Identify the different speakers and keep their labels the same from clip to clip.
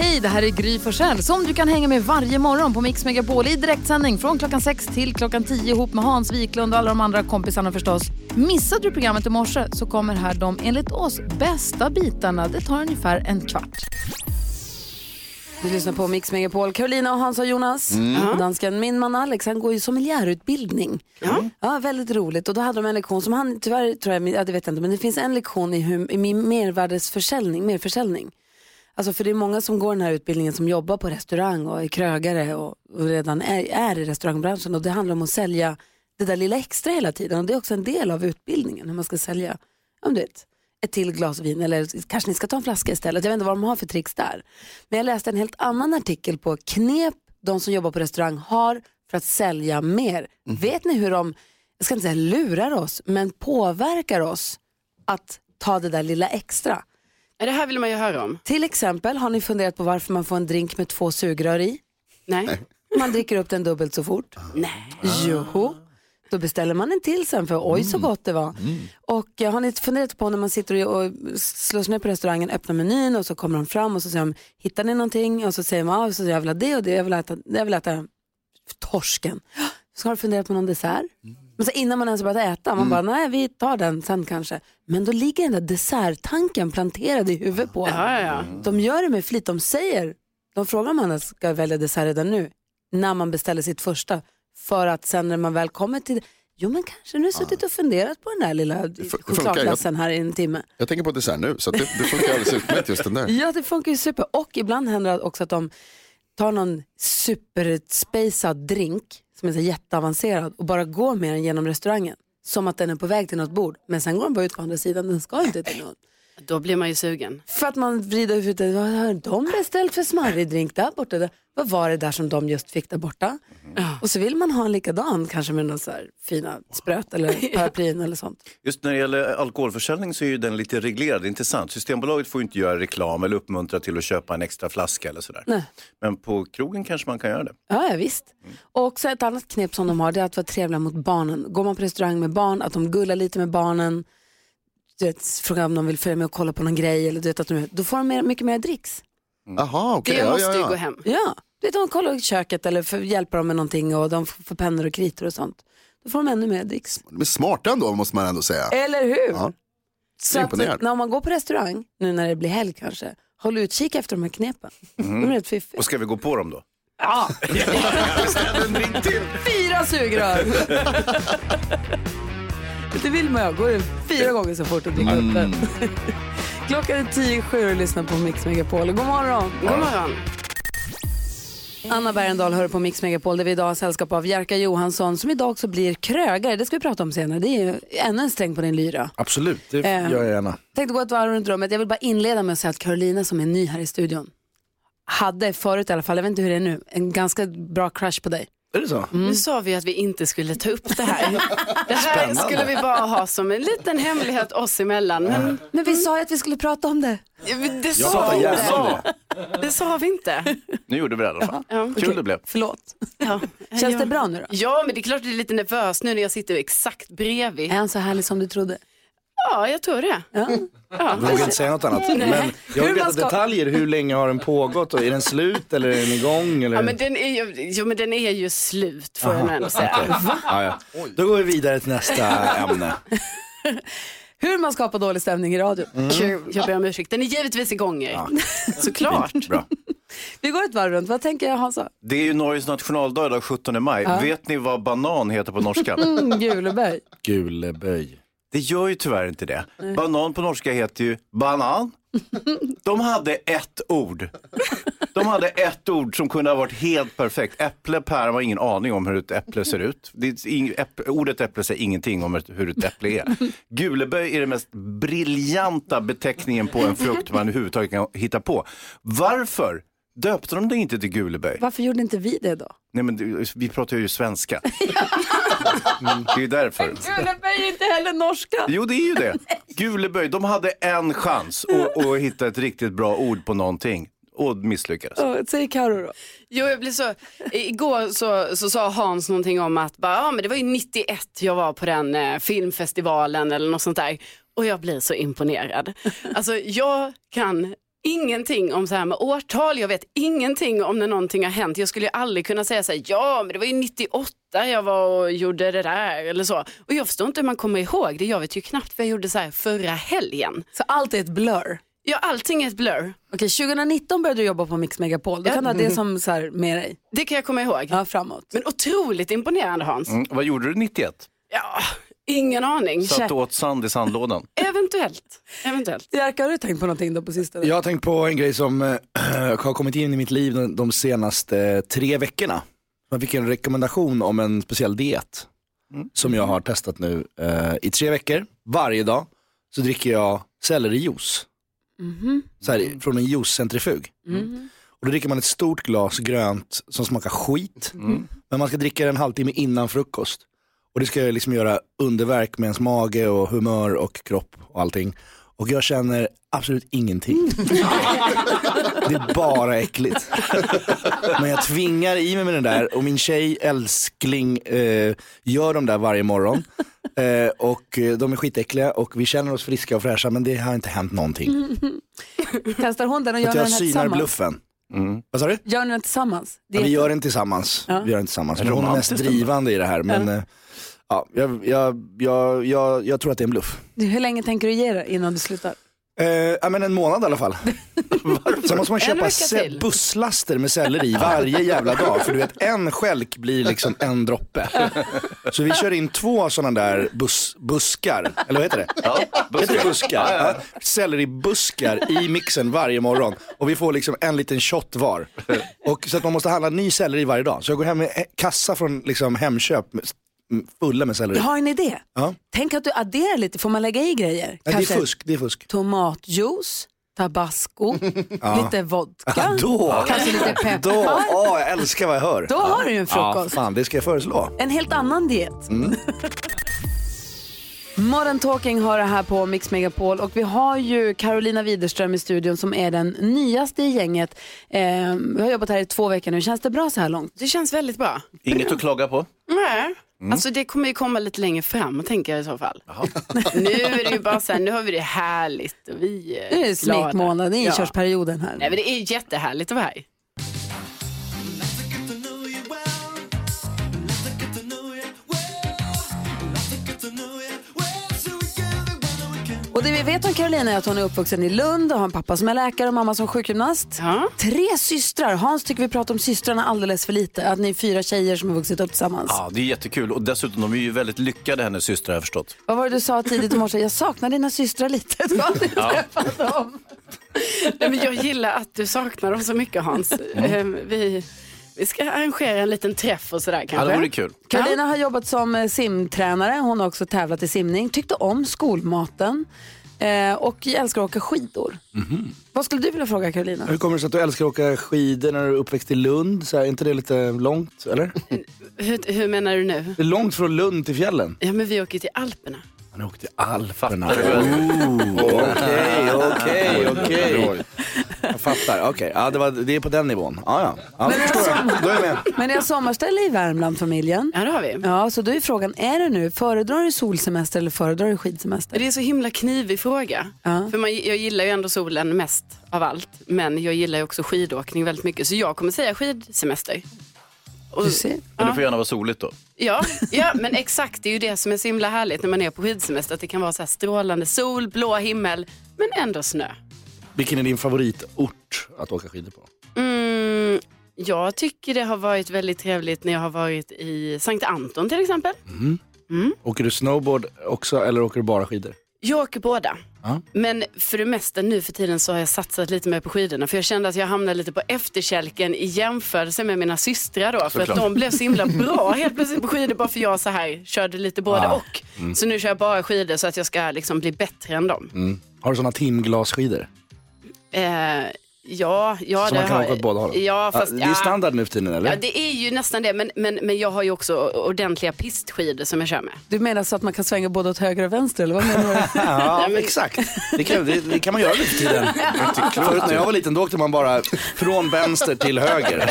Speaker 1: Hej, det här är Gry Forssell som du kan hänga med varje morgon på Mix Megapol i direktsändning från klockan 6 till klockan 10 ihop med Hans Wiklund och alla de andra kompisarna förstås. Missade du programmet i morse så kommer här de enligt oss bästa bitarna. Det tar ungefär en kvart.
Speaker 2: Du lyssnar på Mix Megapol, Carolina och Hans och Jonas. Ja. Dansken, min man Alex, han går ju sommelierutbildning. Ja. ja, väldigt roligt. Och då hade de en lektion som han, tyvärr tror jag, ja, det vet jag inte, men det finns en lektion i, hur, i min mervärdesförsäljning, merförsäljning. Alltså för det är många som går den här utbildningen som jobbar på restaurang och är krögare och, och redan är, är i restaurangbranschen och det handlar om att sälja det där lilla extra hela tiden och det är också en del av utbildningen hur man ska sälja, ja, men du vet, ett till glas vin eller kanske ni ska ta en flaska istället. Jag vet inte vad de har för tricks där. Men jag läste en helt annan artikel på knep de som jobbar på restaurang har för att sälja mer. Vet ni hur de, jag ska inte säga lurar oss, men påverkar oss att ta det där lilla extra?
Speaker 3: Ja, Det här vill man ju höra om.
Speaker 2: Till exempel, har ni funderat på varför man får en drink med två sugrör i?
Speaker 3: Nej.
Speaker 2: Man dricker upp den dubbelt så fort.
Speaker 3: Nej.
Speaker 2: Joho. Då beställer man en till sen för oj så gott det var. Och eh, har ni funderat på när man sitter och, och slår sig ner på restaurangen, öppnar menyn och så kommer de fram och så säger de, hittar ni någonting? Och så säger man, ah, så jag vill ha det och det, jag vill äta, jag vill äta torsken. Så har du funderat på någon dessert? Men så innan man ens har börjat äta, man
Speaker 3: Mm.
Speaker 2: bara, nej vi tar den sen kanske. Men då ligger den där desserttanken planterad i huvudet på en.
Speaker 3: Ja, ja, ja.
Speaker 2: De gör det med flit. De säger, de frågar om man ska välja dessert redan nu, när man beställer sitt första. För att sen när man väl kommer till, jo men kanske nu har jag suttit och funderat på den där lilla
Speaker 4: funkar.
Speaker 2: chokladglassen här i en timme.
Speaker 4: Jag tänker på dessert nu, så att det, det funkar alldeles utmärkt just den där.
Speaker 2: Ja, det funkar ju super. Och ibland händer det också att de tar någon superspacad drink som är så jätteavancerad och bara går med den genom restaurangen. Som att den är på väg till något bord. Men sen går den bara ut på andra sidan, den ska inte till någon.
Speaker 3: Då blir man ju sugen.
Speaker 2: För att man vrider ut det. Vad har de beställt för smarrig drink där borta? Där- Vad var det där som de just fick där borta? Och så vill man ha en likadan kanske med någon så här fina spröt eller paraplyn eller sånt.
Speaker 5: Just när det gäller alkoholförsäljning så är ju den lite reglerad, det är inte sant? Systembolaget får ju inte göra reklam eller uppmuntra till att köpa en extra flaska eller sådär.
Speaker 2: Nej.
Speaker 5: Men på krogen kanske man kan göra det.
Speaker 2: Ja, ja, visst. Och så ett annat knep som de har det är att vara trevliga mot barnen. Går man på restaurang med barn, att de gullar lite med barnen. Du vet, frågar om de vill följa med och kolla på någon grej. Eller, du vet, att de, då får de mer, mycket mer dricks.
Speaker 4: Jaha, okej.
Speaker 3: Det måste
Speaker 4: ja,
Speaker 3: ju
Speaker 4: ja,
Speaker 3: gå
Speaker 4: ja.
Speaker 3: hem.
Speaker 2: Ja, du vet, de kollar i köket eller för, hjälper dem med någonting och de får pennor och kritor och sånt. Då får de ännu mer dricks.
Speaker 4: Men smart ändå måste man ändå säga.
Speaker 2: Eller hur?
Speaker 4: Ja.
Speaker 2: Så
Speaker 4: Jag är
Speaker 2: att,
Speaker 4: imponerad.
Speaker 2: när man går på restaurang, nu när det blir helg kanske, håll utkik efter de här knepen.
Speaker 3: Mm.
Speaker 2: De är rätt fiffiga.
Speaker 5: Och ska vi gå på dem då?
Speaker 2: Ja,
Speaker 5: En drink till!
Speaker 2: fyra sugrör! det vill man ju ha, går det fyra gånger så fort att dricka upp den.
Speaker 5: Mm.
Speaker 2: Klockan är tio i sju och lyssnar på Mix Megapol. God morgon!
Speaker 3: God morgon.
Speaker 2: Anna Bergendahl hör på Mix Megapol där vi idag har sällskap av Jerka Johansson som idag också blir krögare. Det ska vi prata om senare. Det är ju ännu en sträng på din lyra.
Speaker 6: Absolut, det
Speaker 2: Eh.
Speaker 6: gör jag gärna.
Speaker 2: tänkte gå ett varv runt rummet. Jag vill bara inleda med att säga att Carolina som är ny här i studion hade förut i alla fall, jag vet inte hur det är nu, en ganska bra crush på dig.
Speaker 6: Är det så?
Speaker 3: Nu sa vi ju att vi inte skulle ta upp det här. Det här skulle vi bara ha som en liten hemlighet oss emellan. Men
Speaker 2: Men vi sa ju att vi skulle prata om det.
Speaker 3: det
Speaker 6: Jag
Speaker 3: sa,
Speaker 6: pratar
Speaker 3: vi
Speaker 6: gärna
Speaker 3: inte.
Speaker 6: om det.
Speaker 3: det sa vi inte.
Speaker 5: Nu gjorde vi det i alla fall.
Speaker 3: Ja.
Speaker 5: Kul det blev.
Speaker 2: Förlåt.
Speaker 3: Ja.
Speaker 2: Känns det bra nu då?
Speaker 3: Ja, men det är klart det är lite nervöst nu när jag sitter exakt bredvid.
Speaker 2: Är han så härlig som du trodde?
Speaker 3: Ja, jag tror det.
Speaker 2: Ja.
Speaker 3: Ja.
Speaker 6: Jag vågar inte säga något annat. Men jag
Speaker 2: Hur
Speaker 6: vill veta
Speaker 2: man ska-
Speaker 6: detaljer. Hur länge har den pågått? Och är den slut eller är den igång? Eller...
Speaker 3: Ja, men den är ju, jo, men den är ju slut får jag nog ändå säga.
Speaker 6: Ja, ja. Då går vi vidare till nästa ämne.
Speaker 2: Hur man skapar dålig stämning i radio.
Speaker 3: Kul. Jag ber om ursäkt. Den är givetvis igång Erik. Såklart.
Speaker 5: Bra.
Speaker 2: Vi går ett varv runt, vad tänker jag Hansa?
Speaker 5: Det är ju Norges nationaldag idag, 17 maj. Vet ni vad banan heter på norska?
Speaker 2: Mm, Guleberg.
Speaker 6: Guleböj.
Speaker 5: Det gör ju tyvärr inte det. Banan på norska heter ju banan. De hade ett ord. De hade ett ord som kunde ha varit helt perfekt. Äpple, päron har ingen aning om hur ett äpple ser ut. Det är ing, äpp, ordet äpple säger ingenting om ett- hur ett äpple är. Guleböj är den mest briljanta beteckningen på en frukt man överhuvudtaget kan hitta på. Varför Döpte de det inte till Guleböj?
Speaker 2: Varför gjorde inte vi det då?
Speaker 5: Nej men det- vi pratar ju svenska. Mm, det är ju därför.
Speaker 2: Guleberg är inte heller norska.
Speaker 5: Jo det är ju det. Guleböj, de hade en chans att, att hitta ett riktigt bra ord på någonting och misslyckades.
Speaker 2: Ja, Säg Carro då.
Speaker 3: Jo, jag blir så... Igår så, så sa Hans någonting om att bara, ja, men det var ju 91 jag var på den eh, filmfestivalen eller något sånt där. Och jag blir så imponerad. Alltså jag kan ingenting om så här med årtal, jag vet ingenting om när någonting har hänt. Jag skulle ju aldrig kunna säga så här, ja men det var ju 98 jag var och gjorde det där eller så. Och jag förstår inte hur man kommer ihåg det, jag vet ju knappt vad jag gjorde så här förra helgen.
Speaker 2: Så allt är ett blur.
Speaker 3: Ja, allting är ett blur.
Speaker 2: Okej, 2019 började du jobba på Mix Megapol. Då kan du ha det som så här med dig.
Speaker 3: Det kan jag komma ihåg.
Speaker 2: Ja, framåt.
Speaker 3: Men otroligt imponerande Hans.
Speaker 5: Mm, vad gjorde du 91?
Speaker 3: Ja, ingen aning.
Speaker 5: Satt och åt sand i sandlådan.
Speaker 3: Eventuellt. Eventuellt.
Speaker 2: Jerka, har du tänkt på någonting då på sistone?
Speaker 7: Jag har tänkt på en grej som eh, har kommit in i mitt liv de, de senaste eh, tre veckorna. Jag fick en rekommendation om en speciell diet som jag har testat nu eh, i tre veckor. Varje dag så dricker jag sellerijuice. Så här, från en juicecentrifug. Mm. Och då dricker man ett stort glas grönt som smakar skit. Men man ska dricka det en halvtimme innan frukost. Och det ska ju liksom göra underverk med ens mage och humör och kropp och allting. Och jag känner absolut ingenting. Det är bara äckligt. Men jag tvingar i mig med den där och min tjej, älskling, eh, gör de där varje morgon. Eh, och eh, de är skitäckliga och vi känner oss friska och fräscha men det har inte hänt någonting.
Speaker 2: Testar hon den och
Speaker 7: Så
Speaker 2: gör
Speaker 7: att
Speaker 2: ni den
Speaker 7: jag synar
Speaker 2: här Mm-hmm. tillsammans?
Speaker 7: bluffen.
Speaker 5: Mm.
Speaker 7: Vad sa du?
Speaker 2: Gör ni den tillsammans? Det
Speaker 7: Ja,
Speaker 2: är
Speaker 7: vi gör den tillsammans. Vi gör den tillsammans. Men hon är mest
Speaker 5: Romantiskt ändå.
Speaker 7: drivande i det här. Men, eh, ja, jag, jag, jag, jag, jag tror att det är en bluff.
Speaker 2: Hur länge tänker du ge det innan du slutar?
Speaker 7: Eh, ja, men en månad i alla fall. Sen måste man köpa
Speaker 3: vecka
Speaker 7: se-
Speaker 3: till.
Speaker 7: busslaster med selleri varje jävla dag. För du vet, en skälk blir liksom en droppe. Så vi kör in två sådana där bus- buskar, eller vad heter det?
Speaker 5: Ja,
Speaker 7: Heter det
Speaker 5: buskar.
Speaker 7: buskar? Ja, Selleribuskar i mixen varje morgon. Och vi får liksom en liten shot var. Och, så att man måste handla ny selleri varje dag. Så jag går hem med eh, kassa från liksom Hemköp med- fulla med selleri.
Speaker 2: Jag har en idé.
Speaker 7: Ja.
Speaker 2: Tänk att du adderar lite, får man lägga i grejer?
Speaker 7: Nej, det är fusk, det är fusk.
Speaker 2: tomatjuice, tabasco, lite vodka.
Speaker 7: Ja, då,
Speaker 2: Kanske lite peppar.
Speaker 7: då, åh, jag älskar vad jag hör.
Speaker 2: Då har du ju en frukost.
Speaker 7: Ja, fan, det ska jag föreslå.
Speaker 2: En helt annan diet. Modern Talking har det här på Mix Megapol och vi har ju Carolina Widerström i studion som är den nyaste i gänget. Eh, vi har jobbat här i två veckor nu. Känns det bra så här långt?
Speaker 3: Det känns väldigt bra.
Speaker 5: Inget att klaga på.
Speaker 3: Nej.
Speaker 5: Mm.
Speaker 3: Alltså det kommer ju komma lite längre fram tänker jag i så fall. nu är det ju bara så här, nu har vi det härligt och vi är
Speaker 2: Nu är det
Speaker 3: glada.
Speaker 2: smekmånad, det är inkörsperioden här.
Speaker 3: Nej men det är jättehärligt att vara här.
Speaker 2: Och det vi vet om Carolina är att hon är uppvuxen i Lund och har en pappa som är läkare och mamma som sjukgymnast.
Speaker 3: Ja.
Speaker 2: Tre systrar. Hans tycker vi pratar om systrarna alldeles för lite. Att ni är fyra tjejer som har vuxit upp tillsammans.
Speaker 5: Ja, det är jättekul och dessutom de är ju väldigt lyckade hennes systrar har jag förstått.
Speaker 2: Vad var det du sa tidigt i morse? Jag saknar dina systrar lite. Du har aldrig träffat dem.
Speaker 3: Nej, men jag gillar att du saknar dem så mycket Hans.
Speaker 5: Mm.
Speaker 3: Eh, Vi, vi ska arrangera en liten träff och sådär
Speaker 5: Ja,
Speaker 3: kanske.
Speaker 5: det vore kul.
Speaker 2: Karolina har jobbat som eh, simtränare. Hon har också tävlat i simning. Tyckte om skolmaten. Eh, och älskar att åka skidor.
Speaker 7: Mhm.
Speaker 2: Vad skulle du vilja fråga Karolina?
Speaker 7: Hur kommer det sig att du älskar att åka skidor när du är uppväxt i Lund? Så här, är inte det lite långt, eller?
Speaker 3: Hur, hur menar du nu?
Speaker 7: Det är långt från Lund till fjällen.
Speaker 3: Ja men vi åker till Alperna.
Speaker 7: Han åkte till Alperna.
Speaker 5: Fattar du?
Speaker 7: Ooh, Okej, okej, okej. Jag fattar, okej. Ja, det, var- det är på den nivån. Ja, ja. ja jag
Speaker 3: alltså-
Speaker 7: förstår jag. Då är jag med.
Speaker 2: Men ni har sommarställe i Värmland, familjen.
Speaker 3: Ja det har vi.
Speaker 2: Ja, så då är frågan, är det nu, föredrar du solsemester eller föredrar du skidsemester?
Speaker 3: Det är en så himla knivig fråga.
Speaker 2: Ja.
Speaker 3: För man, jag gillar ju ändå solen mest av allt. Men jag gillar ju också skidåkning väldigt mycket. Så jag kommer säga skidsemester. Och,
Speaker 2: Du ser.
Speaker 5: Men det får gärna vara soligt då.
Speaker 3: ja, ja, men exakt. Det är ju det som är så himla härligt när man är på skidsemester. Att det kan vara så här strålande sol, blå himmel, men ändå snö.
Speaker 7: Vilken är din favoritort att åka skidor på?
Speaker 3: Mm, jag tycker det har varit väldigt trevligt när jag har varit i Sankt Anton till exempel.
Speaker 7: Åker du snowboard också eller åker du bara skidor?
Speaker 3: Jag åker båda.
Speaker 7: Ja.
Speaker 3: Men för det mesta nu för tiden så har jag satsat lite mer på skidorna. För jag kände att jag hamnade lite på efterkälken i jämförelse med mina systrar då. För att de blev så himla bra helt plötsligt på skidor bara för jag så här körde lite både och.
Speaker 7: Mm.
Speaker 3: Så nu kör jag bara skidor så att jag ska liksom bli bättre än dem.
Speaker 7: Har du sådana timglasskidor?
Speaker 3: Eh, Ja, ja
Speaker 7: Så
Speaker 3: det
Speaker 7: man kan
Speaker 3: har-
Speaker 7: åka åt båda hållen.
Speaker 3: Ja, fast,
Speaker 7: det är standard nu för tiden eller?
Speaker 3: Ja, det är ju nästan det, men, men, men jag har ju också ordentliga pistskidor som jag kör med.
Speaker 2: Du menar så att man kan svänga både åt höger och vänster eller vad menar du?
Speaker 7: Ja, exakt. Det kan, det, det kan man göra nu för tiden. Förut när jag var liten då åkte man bara från vänster till höger.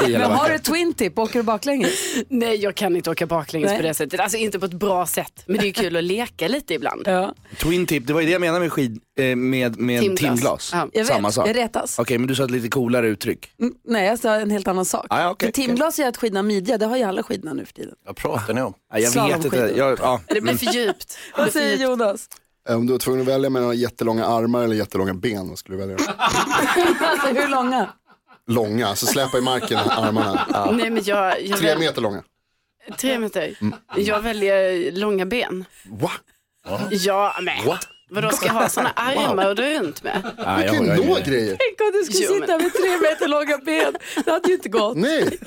Speaker 7: I hela
Speaker 2: Men har du
Speaker 7: backen.
Speaker 2: twin tip, åker du baklänges?
Speaker 3: Nej, jag kan inte åka baklänges
Speaker 2: Nej.
Speaker 3: på det sättet. Alltså inte på ett bra sätt, men det är ju kul att leka lite ibland.
Speaker 2: Ja.
Speaker 7: Twin tip, det var ju det jag menade med, skid, eh, med, med timglas.
Speaker 3: Timglas. Ja.
Speaker 2: Jag
Speaker 7: Samma
Speaker 2: vet,
Speaker 7: sak.
Speaker 2: jag
Speaker 7: Okej,
Speaker 2: retas.
Speaker 7: men du sa ett lite coolare uttryck.
Speaker 2: Mm, Nej, jag sa en helt annan sak.
Speaker 7: Ah, ja, okej,
Speaker 2: För timglas är att skidna midja, det har ju alla skidna nu för tiden.
Speaker 5: Vad pratar ni om?
Speaker 7: Ja, jag vet inte.
Speaker 2: Slalomskidor.
Speaker 7: Jag, ja.
Speaker 3: Det blir för djupt. Det blir
Speaker 2: Vad
Speaker 3: för
Speaker 2: säger
Speaker 3: djupt.
Speaker 2: Jonas?
Speaker 4: Om du var tvungen att välja mellan jättelånga armar eller jättelånga ben, vad skulle du välja? då?
Speaker 2: Alltså hur långa?
Speaker 4: Långa, så släpa i marken armarna.
Speaker 3: Nej, men jag, jag
Speaker 4: Tre
Speaker 3: väl,
Speaker 4: meter långa.
Speaker 3: tre meter. Mm. Jag väljer långa ben.
Speaker 4: Va?
Speaker 3: Ja, men vadå ska jag ha sådana armar att dra runt med?
Speaker 7: Ja, jag
Speaker 4: Vilken
Speaker 7: håller
Speaker 4: då
Speaker 7: med.
Speaker 4: grejer?
Speaker 2: Tänk om du skulle
Speaker 3: Jo, men-
Speaker 2: sitta med tre meter långa ben. Det hade ju inte gått.
Speaker 4: Nej,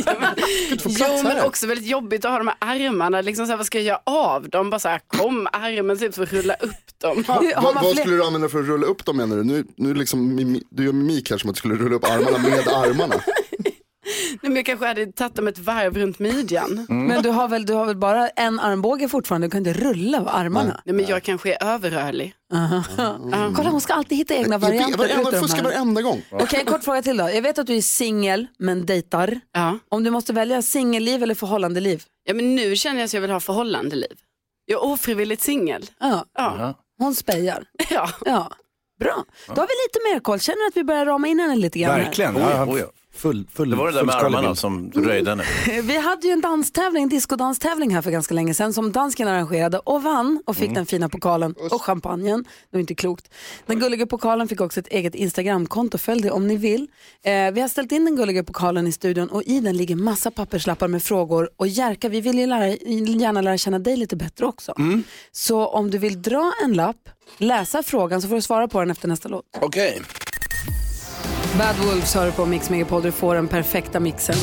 Speaker 3: Jo, men också väldigt jobbigt att ha de här armarna. Liksom så här, vad ska jag göra av dem? Bara så här, kom armen typ för att rulla upp dem.
Speaker 2: Har
Speaker 4: vad,
Speaker 2: man
Speaker 4: vad
Speaker 2: fler-
Speaker 4: skulle du använda för att rulla upp dem menar du? Nu, nu liksom, mimi- du gör mimik här som att du skulle rulla upp armarna med armarna.
Speaker 3: Nej, men jag kanske hade tagit dem ett varv runt midjan.
Speaker 2: Men du har, väl, du har väl bara en armbåge fortfarande? Du kan inte rulla av armarna?
Speaker 3: Nej, men jag kanske är överrörlig.
Speaker 2: Kolla, hon ska alltid hitta egna varianter. utav de
Speaker 4: Varenda
Speaker 2: här.
Speaker 4: fuskar varenda gång.
Speaker 2: Okej, en kort fråga till då. Jag vet att du är singel, men dejtar.
Speaker 3: Ja.
Speaker 2: Om du måste välja singelliv eller förhållandeliv?
Speaker 3: ja, men nu känner jag att jag vill ha förhållandeliv. Jag är ofrivilligt singel.
Speaker 2: Ja,
Speaker 3: Ja.
Speaker 2: hon spejar.
Speaker 3: ja.
Speaker 2: Ja. Bra, då har vi lite mer koll. Känner du att vi börjar rama in henne lite grann? här?
Speaker 7: Verkligen.
Speaker 5: Oj,
Speaker 7: Ja,
Speaker 5: oj, oj.
Speaker 7: Full, full,
Speaker 5: Det var det där med
Speaker 7: fullskalig
Speaker 5: armarna
Speaker 7: bild. Mm.
Speaker 5: som röjde nu.
Speaker 2: Vi hade ju en danstävling, en discodanstävling här för ganska länge sedan som dansken arrangerade och vann och fick den fina pokalen och champagnen. Det var inte klokt. Den gulliga pokalen fick också ett eget Instagramkonto, följ det om ni vill. Eh, vi har ställt in den gulliga pokalen i studion och i den ligger massa papperslappar med frågor och Jerka, vi vill ju lära, gärna lära känna dig lite bättre också. Så om du vill dra en lapp, läsa frågan så får du svara på den efter nästa låt.
Speaker 7: Okej.
Speaker 2: Bad Wolves hör du på Mix Megapol, du får den perfekta mixen.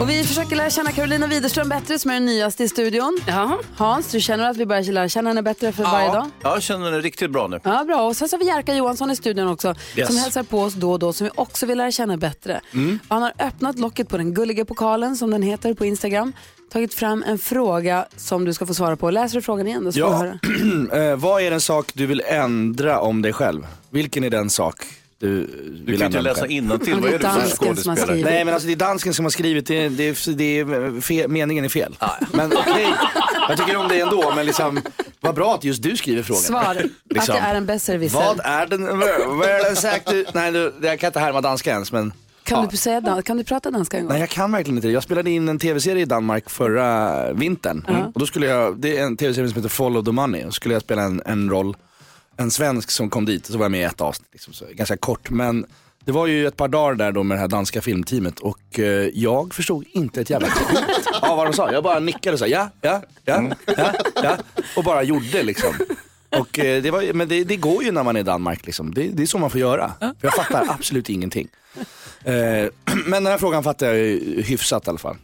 Speaker 2: Och vi försöker lära känna Carolina Widerström bättre som är den nyaste i studion.
Speaker 3: ja.
Speaker 2: Hans, du känner att vi börjar lära känna henne bättre för varje dag?
Speaker 5: Ja, jag känner mig riktigt bra nu.
Speaker 2: Ja, bra. Och sen så har vi Jerka Johansson i studion också som hälsar på oss då och då som vi också vill lära känna bättre.
Speaker 7: Mm.
Speaker 2: Han har öppnat locket på den gulliga pokalen som den heter på Instagram. Tagit fram en fråga som du ska få svara på. Läser du frågan igen då så får du
Speaker 7: Ja.
Speaker 2: höra.
Speaker 7: Eh, vad är en sak du vill ändra om dig själv? Vilken är den sak du
Speaker 5: Du
Speaker 7: vill
Speaker 5: kan
Speaker 7: ändra
Speaker 5: ju inte
Speaker 7: om dig
Speaker 5: läsa
Speaker 7: själv?
Speaker 5: innantill.
Speaker 2: Men
Speaker 5: Vad
Speaker 2: det är
Speaker 5: är du för
Speaker 2: dansken som har
Speaker 5: skådespelare?
Speaker 2: skrivit.
Speaker 7: Nej men alltså det är dansken som har skrivit, det, det, det är fel, meningen är fel. Men okej, jag tycker om det ändå men liksom, vad bra att just du skriver frågan.
Speaker 2: Svar. Att
Speaker 7: Liksom.
Speaker 2: jag är en besserwisser.
Speaker 7: Vad är den, vad är den sagt? Nej du, jag kan inte härma danska ens men
Speaker 2: Kan, du säga dan- kan du prata danska en gång?
Speaker 7: Nej jag kan verkligen inte det. Jag spelade in en tv-serie i Danmark förra vintern. Och då skulle jag, det är en tv-serie som heter Follow the Money. Och skulle jag spela en, en roll, en svensk som kom dit. Så var jag med i ett avsnitt, liksom, så ganska kort. Men det var ju ett par dagar där då med det här danska filmteamet och eh, jag förstod inte ett jävla skit av vad de sa. Jag bara nickade och sa ja, ja, ja, ja, ja och bara gjorde liksom. Och, eh, det var, ju- men det, det går ju när man är i Danmark liksom. det, det är så man får göra. För jag fattar absolut ingenting. Eh, men den här frågan fattar jag ju hyfsat i alla fall.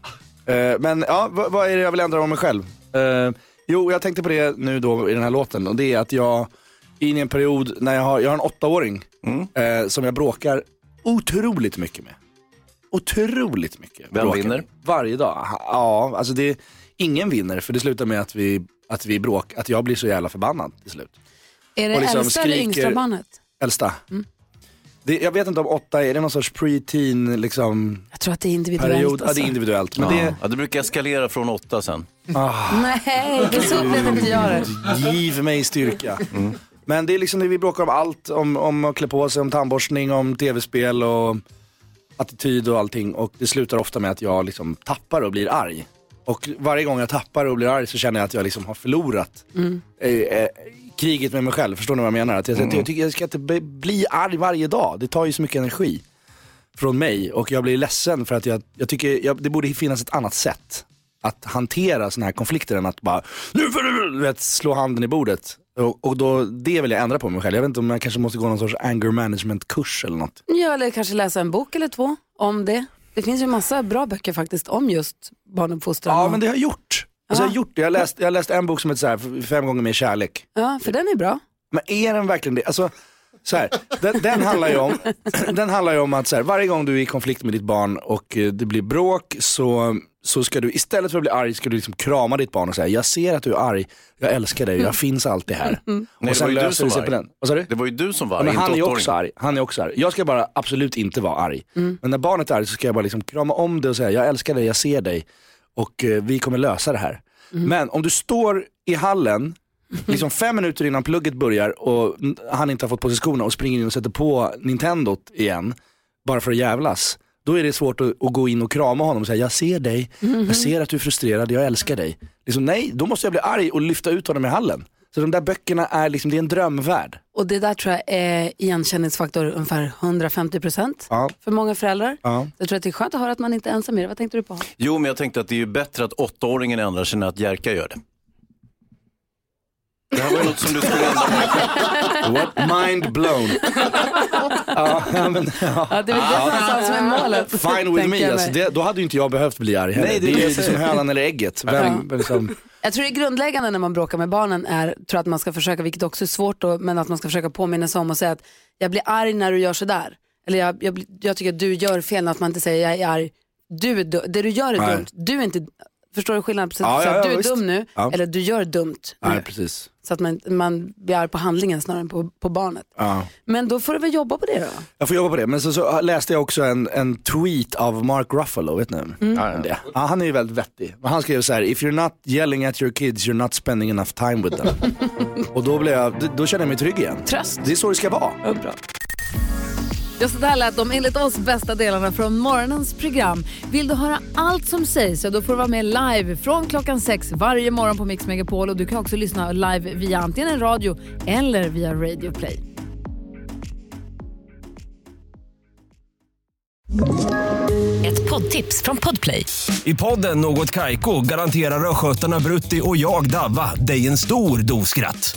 Speaker 7: Eh, men ja, vad, vad är det jag vill ändra om mig själv? Eh, jo, jag tänkte på det nu då i den här låten och det är att jag är inne i en period när jag har, jag har en åttaåring
Speaker 5: Mm.
Speaker 7: eh, som jag bråkar otroligt mycket med. Otroligt mycket.
Speaker 5: Vem
Speaker 7: bråkar
Speaker 5: vinner?
Speaker 7: med. Varje dag. Ha- Ja, alltså det, ingen vinner för det slutar med att vi, att vi bråk, att jag blir så jävla förbannad till slut.
Speaker 2: Är det
Speaker 7: och liksom
Speaker 2: äldsta eller yngsta
Speaker 7: skriker-
Speaker 2: barnet?
Speaker 7: Äldsta. Det, jag vet inte om åtta, är det någon sorts pre-teen liksom
Speaker 2: Jag tror att det är individuellt.
Speaker 7: period? Ja,
Speaker 2: alltså.
Speaker 7: det är individuellt. Men det,
Speaker 5: Ja, det brukar eskalera från åtta sen.
Speaker 2: Nej, det är så upplevde inte jag det.
Speaker 7: Giv mig styrka. Men det är liksom det vi bråkar om allt. Om, om att klä på sig, om tandborstning, om tv-spel och attityd och allting. Och det slutar ofta med att jag liksom tappar och blir arg. Och varje gång jag tappar och blir arg så känner jag att jag liksom har förlorat
Speaker 2: Mm.
Speaker 7: eh, eh, kriget med mig själv. Förstår ni vad jag menar? Att jag, jag, tycker jag ska inte be- bli arg varje dag. Det tar ju så mycket energi från mig och jag blir ledsen för att jag, jag tycker jag, det borde finnas ett annat sätt att hantera sådana här konflikter än att bara nu får du du vet, slå handen i bordet. Och, och då, det vill jag ändra på mig själv. Jag vet inte om jag kanske måste gå någon sorts anger management kurs eller något.
Speaker 2: Ja, eller kanske läsa en bok eller två om det. Det finns ju massa bra böcker faktiskt om just barnuppfostran.
Speaker 7: Ja
Speaker 2: och-
Speaker 7: men det har jag gjort. Alltså jag har gjort det, jag har läst, jag har läst en bok som heter så här, Fem gånger mer kärlek.
Speaker 2: Ja, för den är bra.
Speaker 7: Men är den verkligen det? Alltså, så här, den, den, handlar ju om, den handlar ju om att så här, varje gång du är i konflikt med ditt barn och eh, det blir bråk så, så ska du istället för att bli arg ska du liksom krama ditt barn och säga jag ser att du är arg, jag älskar dig, jag finns alltid här.
Speaker 5: Nej, det
Speaker 7: Och sen
Speaker 5: var ju du
Speaker 7: löser det
Speaker 5: som
Speaker 7: sig
Speaker 5: var
Speaker 7: på
Speaker 5: arg.
Speaker 7: den. Vad sa du?
Speaker 5: Det var ju du som var
Speaker 7: Ja, men
Speaker 5: inte
Speaker 7: han är ju
Speaker 5: åttaåringen.
Speaker 7: också arg. Han är också arg. Jag ska bara absolut inte vara arg. Men när barnet är arg så ska jag bara liksom krama om det och säga jag älskar dig, jag ser dig och eh, vi kommer lösa det här. Men om du står i hallen liksom fem minuter innan plugget börjar och n- han inte har fått på sig skorna och springer in och sätter på Nintendot igen bara för att jävlas. Då är det svårt att, att gå in och krama honom och säga jag ser dig, jag ser att du är frustrerad, jag älskar dig. Liksom, nej, då måste jag bli arg och lyfta ut honom i hallen. Så de där böckerna är liksom, det är en drömvärld.
Speaker 2: Och det där tror jag är igenkänningsfaktor ungefär 150 procent
Speaker 7: Ja.
Speaker 2: för många föräldrar.
Speaker 7: Ja.
Speaker 2: Jag tror att det är skönt att höra att man inte är ensam i det. Vad tänkte du på?
Speaker 5: Jo, men jag tänkte att det är ju bättre att åttaåringen ändrar sig än att Jerka gör det. Det här var ju något som du skulle ändra på.
Speaker 7: What? Mind blown. ja, men, ja.
Speaker 2: Ja, det är väl det någonstans som är målet.
Speaker 7: Fine with
Speaker 2: tänker
Speaker 7: me,
Speaker 2: jag
Speaker 7: alltså,
Speaker 2: mig.
Speaker 7: det, då hade ju inte jag behövt bli arg heller.
Speaker 5: Nej, det
Speaker 7: det,
Speaker 5: är
Speaker 7: är
Speaker 5: det jag
Speaker 7: ju
Speaker 5: säger.
Speaker 7: som hönan eller ägget. Vem, liksom,
Speaker 2: Jag tror det grundläggande när man bråkar med barnen är, tror att man ska försöka, vilket också är svårt då, men att man ska försöka påminna sig om och säga att jag blir arg när du gör sådär. Eller jag, jag, blir- jag tycker att du gör fel, att man inte säger jag är arg. Du är du, det du gör är
Speaker 7: Nej.
Speaker 2: dumt. Du är inte, förstår du skillnaden? Precis,
Speaker 7: Ja,
Speaker 2: så
Speaker 7: ja,
Speaker 2: att
Speaker 7: ja,
Speaker 2: du är
Speaker 7: visst.
Speaker 2: dum nu,
Speaker 7: Ja.
Speaker 2: eller du gör dumt.
Speaker 7: nej, precis.
Speaker 2: Så att man, man blir arg på handlingen snarare än på, på barnet.
Speaker 7: Ja.
Speaker 2: Men då får du väl jobba på det då.
Speaker 7: Jag får jobba på det. Men så, så läste jag också en, en tweet av Mark Ruffalo, vet ni? Mm. Ja, han är ju väldigt vettig. Men Han skrev så här, if you're not yelling at your kids you're not spending enough time with them. Och då, blev jag, då- då kände jag mig trygg igen.
Speaker 1: Tröst.
Speaker 7: Det är så det ska vara.
Speaker 1: Just det där lät de enligt oss bästa delarna från morgonens program. Vill du höra allt som sägs så då får du vara med live från klockan sex varje morgon på Mix Megapol och du kan också lyssna live via antingen en radio eller via Radio Play.
Speaker 8: Ett poddtips från Podplay.
Speaker 9: I podden Något Kaiko garanterar östgötarna Brutti och jag, Davva, dig en stor dos skratt.